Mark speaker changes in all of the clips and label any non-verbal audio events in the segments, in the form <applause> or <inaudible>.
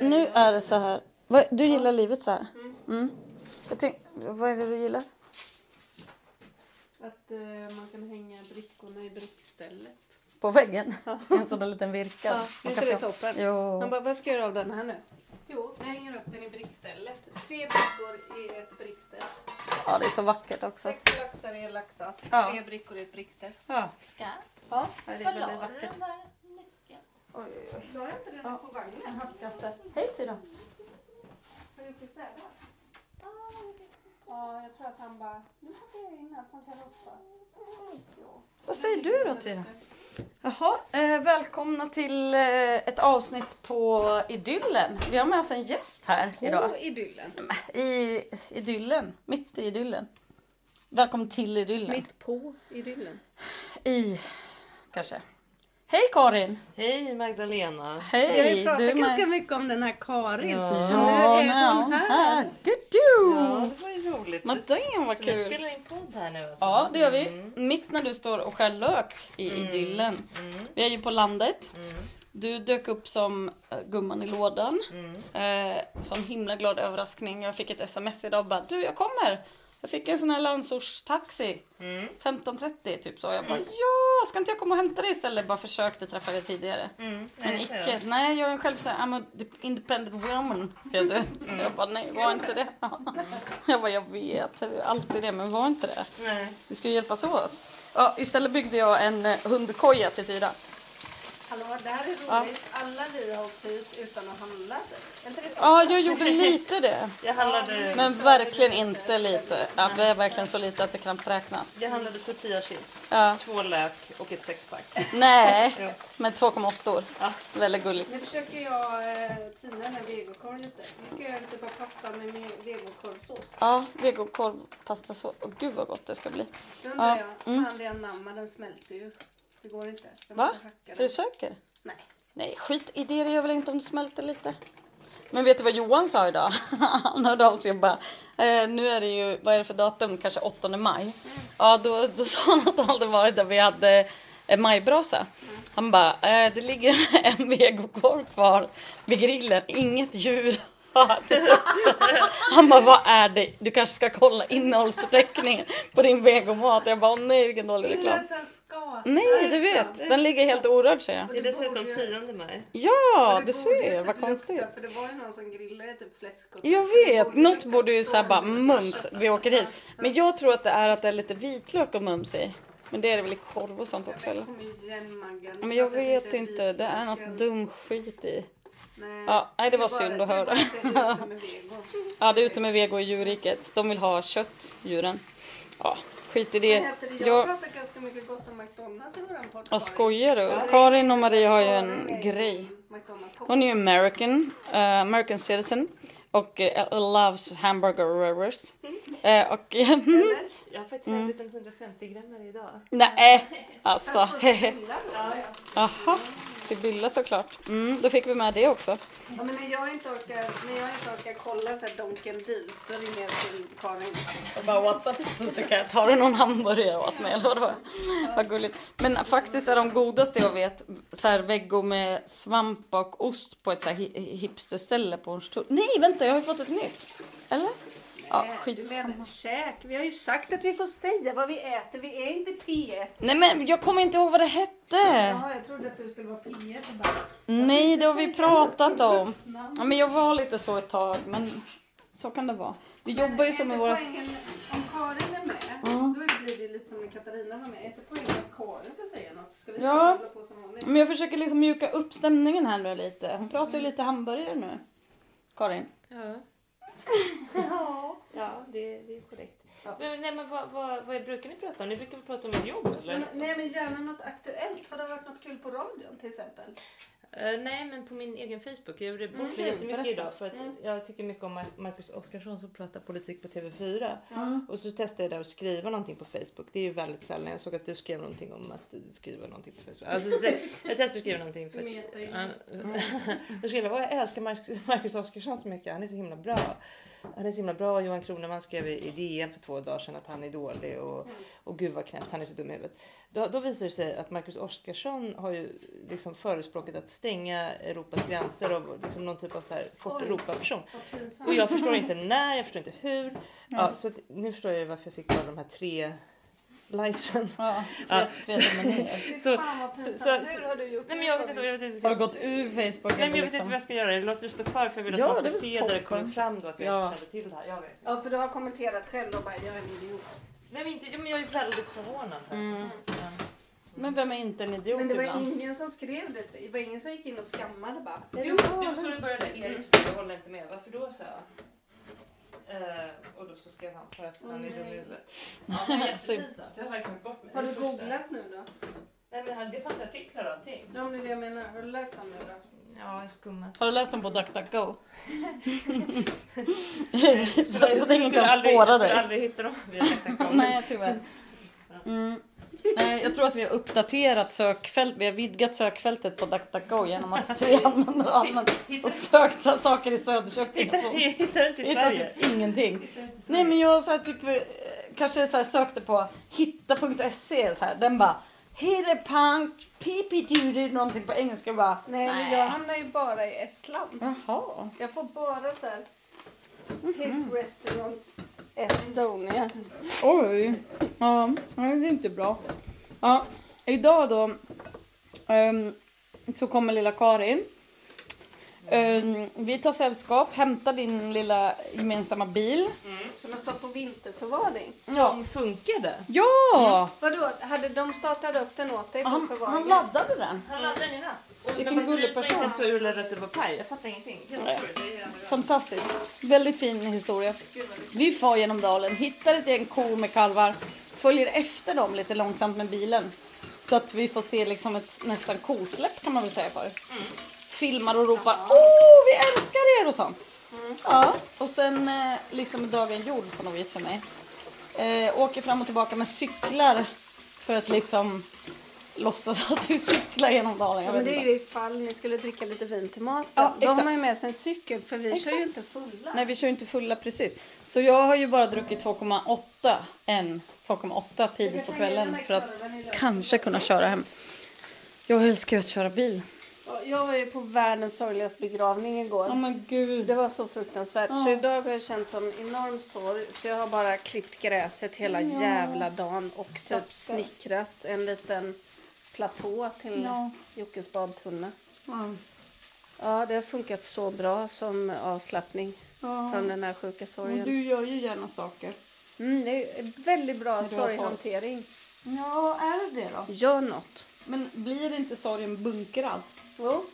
Speaker 1: nu är det så här. Vad- Du gillar livet så här? Mm. Jag tänk, vad är det du gillar?
Speaker 2: Att eh, man kan hänga brickorna i brickstället.
Speaker 1: På väggen? <laughs> En sån där liten virkad.
Speaker 2: Ja,
Speaker 1: Man
Speaker 2: är
Speaker 1: kan
Speaker 2: inte det
Speaker 1: få-
Speaker 2: toppen? Han
Speaker 1: Jo.
Speaker 2: bara, vad ska jag göra av den här nu? Jo, jag hänger upp den i brickstället. Tre brickor i ett brickställ.
Speaker 1: Ja, det är så vackert också.
Speaker 2: Sex laxar i en laxask.
Speaker 1: Ja.
Speaker 2: Tre brickor i ett brickställ.
Speaker 1: Ja,
Speaker 3: Ska?
Speaker 2: Ja.
Speaker 1: det är
Speaker 3: Var la
Speaker 1: väldigt
Speaker 3: du
Speaker 1: vackert.
Speaker 3: de här nyckeln?
Speaker 2: Oj, oj, oj. La jag inte den på vagnen?
Speaker 1: Hej Tyra.
Speaker 2: Har du gjort det Ja, jag tror att han bara, nu hade jag in allt som kan rosta.
Speaker 1: Vad säger du då Tyra? Jaha, eh, välkomna till eh, ett avsnitt på Idyllen. Vi har med oss en gäst här idag.
Speaker 2: På idyllen.
Speaker 1: I Idyllen, mitt i Idyllen. Välkommen till Idyllen.
Speaker 2: Mitt på idyllen.
Speaker 1: i, kanske. Hej Karin!
Speaker 4: Hej Magdalena!
Speaker 1: Hej!
Speaker 2: Vi har ju pratat
Speaker 1: du är med.
Speaker 2: ganska mycket om den här Karin.
Speaker 4: Ja.
Speaker 2: Men
Speaker 1: Ja,
Speaker 2: nu är hon här.
Speaker 1: Gudu!
Speaker 4: Ja, det var ju roligt.
Speaker 1: Men
Speaker 4: Så
Speaker 1: damn vad
Speaker 4: vi
Speaker 1: kul!
Speaker 4: spelar in podd här nu alltså.
Speaker 1: Mm. Ja, det gör vi.
Speaker 4: Mm.
Speaker 1: Mitt när du står och skär lök i Idyllen.
Speaker 4: Mm.
Speaker 1: Vi är ju på landet.
Speaker 4: Mm.
Speaker 1: Du dök upp som eh, gumman i lådan.
Speaker 4: Mm.
Speaker 1: Eh, som himla glad överraskning. Jag fick ett sms idag och bara du jag kommer. Jag fick en sån här landsortstaxi.
Speaker 4: Mm.
Speaker 1: 15.30 typ så. Jag bara ja, ska inte jag komma och hämta dig istället? Bara försökte träffa dig tidigare.
Speaker 4: Mm.
Speaker 1: Men
Speaker 4: Nej, så är
Speaker 1: icke.
Speaker 4: det.
Speaker 1: Nej, jag är en självständig, I'm a de- independent woman, skrev du. Jag bara, nej, var inte det. Jag bara, jag vet, det är alltid det, men var inte det.
Speaker 4: Nej.
Speaker 1: Vi ska ju hjälpas åt. Ja, istället byggde jag en eh, hundkoja till Tyra.
Speaker 2: Hallå, det här är roligt. Alla vi har åkt hit utan att handla. typ. Är inte det
Speaker 1: Ja, jag gjorde lite det.
Speaker 4: Jag handlade,
Speaker 1: Men verkligen inte lite. Ja, det är verkligen så lite att det knappt räknas.
Speaker 4: jag handlade tortillachips,
Speaker 1: Ja.
Speaker 4: två lök och ett sexpack.
Speaker 1: Nej, med 2,8
Speaker 4: Ja.
Speaker 1: Väldigt gulligt.
Speaker 2: Nu försöker jag eh, tina den här vegokorven lite. Vi ska göra lite bara pasta med me- vegokorvsås.
Speaker 1: Ja, vegokorv, pasta, så. Åh, gud vad gott det ska bli.
Speaker 2: Nu undrar
Speaker 1: Ja, mm.
Speaker 2: jag, fan det är anamma, den smälter ju. Det går inte. Jag
Speaker 1: Va?
Speaker 2: måste hacka
Speaker 1: Är
Speaker 2: den.
Speaker 1: du säker?
Speaker 2: Nej.
Speaker 1: Nej, skit i det. Det gör väl inte om det smälter lite. Men vet du vad Johan sa idag? <laughs> Han hörde av sig och bara, eh, nu är det ju, vad är det för datum? Kanske 8 maj? Ja, då, då sa han att han hade varit där vi hade eh, majbrasa. Han bara, eh, det ligger <laughs> en vegokorv kvar vid grillen, inget djur. <laughs> har ätit upp det." Han bara, vad är det? Du kanske ska kolla innehållsförteckningen på din vegomat. Jag bara, "Åh nej vilken dålig
Speaker 2: Är
Speaker 1: reklam.
Speaker 2: den sån skakad?
Speaker 1: Nej, du vet, den ligger helt orörd säger jag.
Speaker 4: Det är dessutom
Speaker 2: borde ju-
Speaker 4: 10 maj.
Speaker 1: Ja,
Speaker 2: Det
Speaker 1: du
Speaker 2: borde ju
Speaker 1: ser,
Speaker 2: typ
Speaker 1: vad konstigt.
Speaker 2: lukta, För det var ju någon som grillade typ fläskkotletter.
Speaker 1: Jag
Speaker 2: Det
Speaker 1: vet, något
Speaker 2: lukta
Speaker 1: borde ju
Speaker 2: så
Speaker 1: såhär bara
Speaker 2: mycket.
Speaker 1: mums, vi åker hit. Men jag tror att det är att det är lite vitlök och mums i. Men det är det väl i korv och sånt
Speaker 2: Jag
Speaker 1: också
Speaker 2: vet,
Speaker 1: eller?
Speaker 2: kom igen Maggan.
Speaker 1: Ja, Men jag
Speaker 2: Klart att
Speaker 1: vet
Speaker 2: är
Speaker 1: inte, det är
Speaker 2: vitlöken.
Speaker 1: något dum skit i.
Speaker 2: Nej.
Speaker 1: Ja, nej, det var
Speaker 2: är bara-
Speaker 1: synd att höra.
Speaker 2: Det är bara
Speaker 1: <laughs>
Speaker 2: inte ute med vegan.
Speaker 1: Ja, det är ute med vego i djurriket. De vill ha kött, djuren. Ja, skit i
Speaker 2: Vad
Speaker 1: det.
Speaker 2: heter det? Jag
Speaker 1: Jag...
Speaker 2: pratar ganska mycket gott om McDonalds i våran podd.
Speaker 1: Ja,
Speaker 2: Karin.
Speaker 1: skojar du?
Speaker 2: Ja.
Speaker 1: Karin och Maria har ju
Speaker 2: Karin är
Speaker 1: en
Speaker 2: ju
Speaker 1: grej.
Speaker 2: McDonalds
Speaker 1: Hon är ju American, eh, American citizen. Och eh, loves hamburgerers. Eh, och... <laughs>
Speaker 2: Eller?
Speaker 4: Jag har faktiskt mm. ätit en 150 grammar idag.
Speaker 1: Nej, alltså. <laughs>
Speaker 2: Fast på skolan då, ja.
Speaker 1: Aha, Sibylla såklart. Mm, då fick vi med det också.
Speaker 2: Ja, men när jag inte orkar, när jag inte orkar kolla så här Donken Deals, då ringer jag till Karin.
Speaker 1: Jag bara whatsapp <laughs> musikat, har du någon hamburgare åt mig eller vadå? Vad gulligt. Men faktiskt är de godaste jag vet så här veggo med svamp och ost på ett så här hi- hi- hipsterställe på Hornstull. Nej vänta, jag har ju fått ett nytt. Eller? Ja,
Speaker 2: Nej, Du
Speaker 1: skitsamma.
Speaker 2: menar käk? Vi har ju sagt att vi får säga vad vi äter, vi är inte P1.
Speaker 1: Nej men jag kommer inte ihåg vad det hette.
Speaker 2: Jaha, jag trodde att du skulle vara P1 och bara...
Speaker 1: Nej, det har vi pratat om. Ja, men jag var lite så ett tag, men så kan det vara. Vi jobbar ju
Speaker 2: Är
Speaker 1: som med
Speaker 2: inte
Speaker 1: våra...
Speaker 2: poängen, om Karin är med, då blir det lite som när Katarina var med. Är inte poängen att Karin får säga något? Ska vi
Speaker 1: Ja.
Speaker 2: hålla på som vanligt?
Speaker 1: Men jag försöker liksom mjuka upp stämningen här nu lite. Hon pratar ju lite hamburgare nu. Karin.
Speaker 4: Ja. <laughs> ja, det, det är korrekt. Men, nej, men vad, vad, vad brukar ni prata om? Ni brukar väl prata om ett jobb eller?
Speaker 2: Men, nej, men gärna något aktuellt. Har du hört något kul på radion till exempel?
Speaker 4: Eh, nej, men på min egen Facebook. Jag gjorde bort mig
Speaker 1: kul.
Speaker 4: jättemycket
Speaker 1: Berätta.
Speaker 4: idag för att jag tycker mycket om Mar- Marcus Oskarsson som pratar politik på TV4.
Speaker 1: Mm.
Speaker 4: Och så testade jag där att skriva någonting på Facebook. Det är ju väldigt sällan. Jag såg att du skrev någonting om att skriva någonting på Facebook. Alltså, så, jag testade att skriva någonting för att...
Speaker 2: Meta in.
Speaker 4: Ja. Då skrev jag, "Åh, jag älskar Marcus, Marcus Oskarsson så mycket. Han är så himla bra. han är så himla bra. Johan Kronemann skrev i i DN för två dagar sedan att han är dålig och,
Speaker 2: Mm.
Speaker 4: och gud vad knäppt, han är så dum i huvudet. Då, då visar det sig att Marcus Oskarsson har ju liksom förespråkat att stänga Europas gränser och liksom någon typ av så här Fort
Speaker 2: Oj.
Speaker 4: Europa-person.
Speaker 2: Vad pinsamt.
Speaker 4: Och jag förstår inte när, jag förstår inte hur. Ja, så att, nu förstår jag ju varför jag fick bara de här tre likesen.
Speaker 1: Ja,
Speaker 4: Ja.
Speaker 1: tre, tre dominier.
Speaker 2: Fy
Speaker 4: så-
Speaker 2: fan vad pinsamt.
Speaker 4: så- så-
Speaker 2: Hur har du gjort?
Speaker 4: Nej men jag vet inte, jag vet inte.
Speaker 1: Har du gått ur Facebook?
Speaker 4: Nej, men
Speaker 1: eller
Speaker 4: jag vet inte vad jag ska göra. Jag låter det stå kvar för jag vill att
Speaker 1: Ja,
Speaker 4: man
Speaker 1: det
Speaker 4: ska
Speaker 1: är väl
Speaker 4: se där det
Speaker 1: toppen.
Speaker 4: kommer fram då att jag
Speaker 1: Ja.
Speaker 4: inte kände till det här. Jag vet.
Speaker 2: Ja, för du har kommenterat själv och bara, jag är en idiot.
Speaker 4: Nej, men, inte, men jag är väldigt förvånad. här.
Speaker 1: Mm.
Speaker 4: Ja.
Speaker 1: Men vem är inte en idiot
Speaker 2: Men det var
Speaker 1: ibland?
Speaker 2: ingen som skrev det till dig. Det var ingen som gick in och skammade bara. "Är
Speaker 4: Jo,
Speaker 2: du
Speaker 4: jo,
Speaker 2: galen?"
Speaker 4: så det började. Erik skrev jag håller inte med. Varför då så? Eh, och då så skrev han för att han är dum i huvudet. Ja, det
Speaker 1: <laughs>
Speaker 4: var jättepinsamt. Jag har verkligen bort mig.
Speaker 2: Har
Speaker 4: Det
Speaker 2: du
Speaker 4: är första.
Speaker 2: googlat nu då?
Speaker 4: Nej, men här- det fanns artiklar och allting.
Speaker 2: Ja, om det är det jag menar. Har du läst om det då?
Speaker 4: Ja, jag skummat.
Speaker 1: Har du läst den på DuckDuckGo? <laughs> så att ingen kan
Speaker 4: Jag
Speaker 1: spåra
Speaker 4: skulle
Speaker 1: dig.
Speaker 4: aldrig hitta dem via DuckDuckGo.
Speaker 1: Nej, tyvärr. Mm. Eh, Jag tror att vi har uppdaterat sökfält. Vi har vidgat sökfältet på DuckDuckGo genom att
Speaker 2: <laughs>
Speaker 1: vi använder och använt
Speaker 4: Hittar
Speaker 1: och sökt så här saker i Söderköping. och
Speaker 4: hittar-
Speaker 1: sånt.
Speaker 4: hittar inte i
Speaker 1: Hittar
Speaker 4: Sverige.
Speaker 1: typ ingenting. Nej men jag så här, typ, eh, kanske så här, sökte på hitta.se så här. Den bara Hit a punk, pipidudu, någonting på engelska bara.
Speaker 2: Nej, men jag hamnar ju bara i Estland.
Speaker 1: Jaha.
Speaker 2: Jag får bara så här...
Speaker 1: Mhm.
Speaker 2: Hit restaurant Estonia.
Speaker 1: Oj. Ja, nej, det är inte bra. Ja, idag då ehm, så kommer lilla Karin. Ehm, vi tar sällskap, hämtar din lilla gemensamma bil.
Speaker 2: Som har stått på vinterförvaring.
Speaker 1: Ja.
Speaker 4: Som funkade.
Speaker 1: Ja!
Speaker 2: Vadå, hade de startat upp den åt dig på
Speaker 1: Han, han
Speaker 2: förvaringen?
Speaker 1: laddade den.
Speaker 4: Han laddade den i natt. Och
Speaker 1: Vilken
Speaker 4: när man
Speaker 1: gullig
Speaker 4: förlitar
Speaker 1: person.
Speaker 4: inte så urladdad att det var paj. Jag fattar ingenting. Helt
Speaker 1: Nej.
Speaker 4: otroligt. Det är jävla bra.
Speaker 1: Fantastiskt. Väldigt fin historia. Vi far genom dalen, hittar ett gäng kor med kalvar, följer efter dem lite långsamt med bilen. Så att vi får se liksom ett nästan kosläpp kan man väl säga för. Filmar och ropar Åh, vi älskar er och sånt. Ja, och sen eh, liksom är dagen gjord på något vis för mig. Eh, åker fram och tillbaka med cyklar för att liksom låtsas <laughs> att vi cyklar genom dalen. Jag
Speaker 2: Ja, men
Speaker 1: vet
Speaker 2: det
Speaker 1: inte.
Speaker 2: är ju ifall ni skulle dricka lite vin till maten.
Speaker 1: Ja,
Speaker 2: Då har
Speaker 1: exakt.
Speaker 2: man ju med sig en cykel för vi kör
Speaker 1: Exakt.
Speaker 2: ju inte fulla.
Speaker 1: Nej, vi kör ju inte fulla precis. Så jag har ju bara druckit 2,8 än 2,8 tidigt på kvällen för att kanske kunna köra hem. Jag älskar ju att köra bil.
Speaker 2: Ja, Jag var ju på världens sorgligaste begravning igår.
Speaker 1: Ja men
Speaker 2: Det
Speaker 1: gud.
Speaker 2: var så fruktansvärt. Så idag har jag känt som enorm sorg. Så jag har bara klippt gräset hela jävla dagen och typ snickrat en liten platå till
Speaker 1: Ja.
Speaker 2: Jockes badtunna.
Speaker 1: Ja.
Speaker 2: Ja, det har funkat så bra som avslappning
Speaker 1: Ja.
Speaker 2: från den här sjuka
Speaker 1: Men
Speaker 2: sorgen.
Speaker 1: du gör ju gärna saker.
Speaker 2: Mm, det är väldigt bra
Speaker 1: du har sorg.
Speaker 2: sorghantering.
Speaker 1: Ja, är det det då?
Speaker 2: Gör något.
Speaker 1: Men blir inte sorgen bunkrad?
Speaker 2: Jo,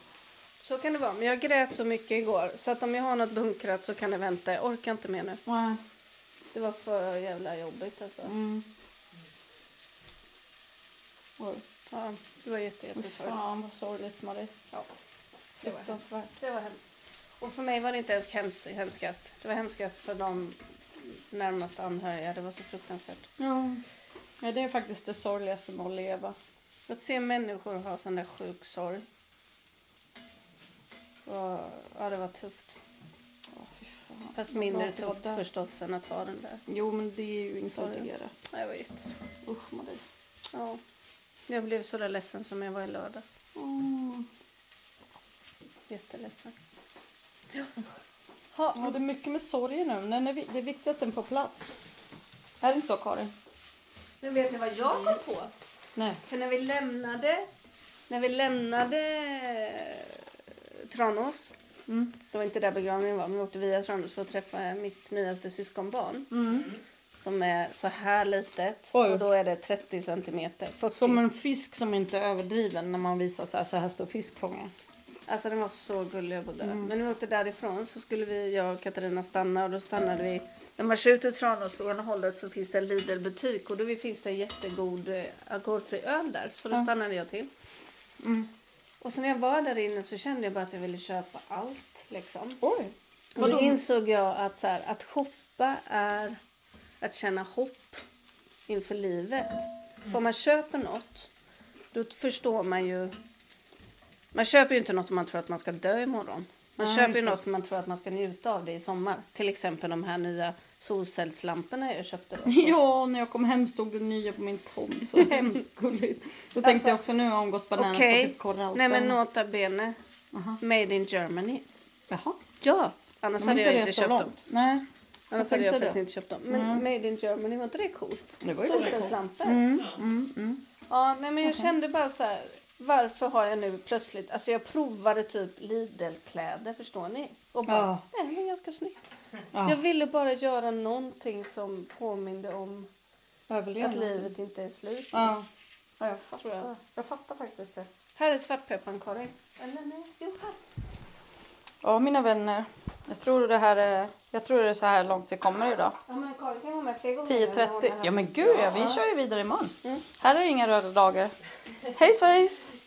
Speaker 2: så kan det vara. Men jag grät så mycket igår så att om jag har något bunkrat så kan det vänta. Jag orkar inte mer nu.
Speaker 1: Nej.
Speaker 2: Det var för jävla jobbigt alltså.
Speaker 1: Mm. Oj,
Speaker 2: Ja, det var jätte, jättesorgligt.
Speaker 1: fan vad sorgligt Marie.
Speaker 2: Ja, det var hemskt.
Speaker 1: Fruktansvärt.
Speaker 2: Det var hemskt. Och för mig var det inte ens hemskt, hemskast. Det var hemskast för de närmaste anhöriga. Det var så fruktansvärt.
Speaker 1: Ja. ja, det är faktiskt det sorgligaste med att leva.
Speaker 2: Att se människor ha sån där sjuk sorg. Var, ja, det var tufft.
Speaker 1: Åh, fy fan.
Speaker 2: Fast
Speaker 1: Vad bra
Speaker 2: mindre
Speaker 1: att det var
Speaker 2: tufft
Speaker 1: där.
Speaker 2: förstås än att ha den där.
Speaker 1: Jo, men det är ju
Speaker 2: Sorry.
Speaker 1: inkluderat.
Speaker 2: Ja, det var jättesvårt.
Speaker 1: Usch Marie.
Speaker 2: Ja. Jag blev så där ledsen som jag var i lördags.
Speaker 1: Mm.
Speaker 2: Jätteledsen. Ha,
Speaker 1: Ja, det är mycket med sorgen nu. Den är, vi- det är viktigt att den får plats. Är det inte så Karin?
Speaker 2: men vet ni vad jag kom på?
Speaker 1: Nej.
Speaker 2: För när vi lämnade, när vi lämnade eh, Tranås,
Speaker 1: Mm.
Speaker 2: det var inte där begravningen var, men vi åkte via Tranås för att träffa mitt nyaste syskonbarn som är så här litet
Speaker 1: Mm. Oj.
Speaker 2: och då är det 30 centimeter. 40.
Speaker 1: Som en fisk som inte är överdriven när man visar så här, så här står fisk fångad.
Speaker 2: Alltså den var så gullig och död. Men när vi åkte därifrån så skulle vi, jag och Katarina stanna och då stannade vi. När man kör ut ur Tranås och ena hållet så finns det en Lidl-butik och då finns det en jättegod eh, alkoholfri öl där. Så då stannade jag till. Mm. Och så när jag var där inne så kände jag bara att jag ville köpa allt liksom.
Speaker 1: Oj.
Speaker 2: Och då
Speaker 1: Vadå?
Speaker 2: insåg jag att så här, att shoppa är att känna hopp inför livet. För om man köper något, då förstår man ju... Man köper ju inte något om man tror att man ska dö imorgon. Man köper ju något för man tror att man ska njuta av det i sommar. Till exempel de här nya solcellslamporna jag köpte. Då.
Speaker 1: <laughs> <laughs> Ja, när jag kom hem stod det nya på min tomt. Så <laughs> hemskt gulligt. Då tänkte
Speaker 2: Alltså,
Speaker 1: jag också nu har hon gått bananas
Speaker 2: Okej,
Speaker 1: på typ korallpen.
Speaker 2: nej men nota bene.
Speaker 1: Aha.
Speaker 2: Made in Germany.
Speaker 1: Jaha.
Speaker 2: Ja, annars
Speaker 1: Men
Speaker 2: hade jag
Speaker 1: det
Speaker 2: inte
Speaker 1: så
Speaker 2: köpt
Speaker 1: långt.
Speaker 2: dem.
Speaker 1: Nej.
Speaker 2: Annars
Speaker 1: Jag
Speaker 2: hade jag
Speaker 1: tänkte
Speaker 2: faktiskt
Speaker 1: det.
Speaker 2: inte köpt dem. Men Made in Germany, var inte det coolt?
Speaker 4: Det var ju väldigt coolt.
Speaker 2: Solcellslampor.
Speaker 1: Mm, mm, mm.
Speaker 2: Ja, nej men jag kände bara så här. Varför har jag nu plötsligt... Alltså jag provade typ Lidl-kläder, förstår ni? Och bara,
Speaker 1: Ja.
Speaker 2: nej men ganska snyggt.
Speaker 1: Ja.
Speaker 2: Jag ville bara göra någonting som påminde om att
Speaker 1: Överlevnad.
Speaker 2: livet inte är slut.
Speaker 1: Ja.
Speaker 2: Ja, jag fattar. Jag.
Speaker 1: fattar faktiskt det.
Speaker 2: Här är svartpepparn, Karin. Eller nej, jo här.
Speaker 1: Ja, mina vänner. Jag tror det här är, jag tror det är så här långt vi kommer idag.
Speaker 2: Ja men Karin kan vara med fler gånger. än hon är
Speaker 1: 10.30.
Speaker 2: här.
Speaker 1: Ja men gud ja, vi kör ju vidare imorgon. Här är inga röda dagar. Hej svejs!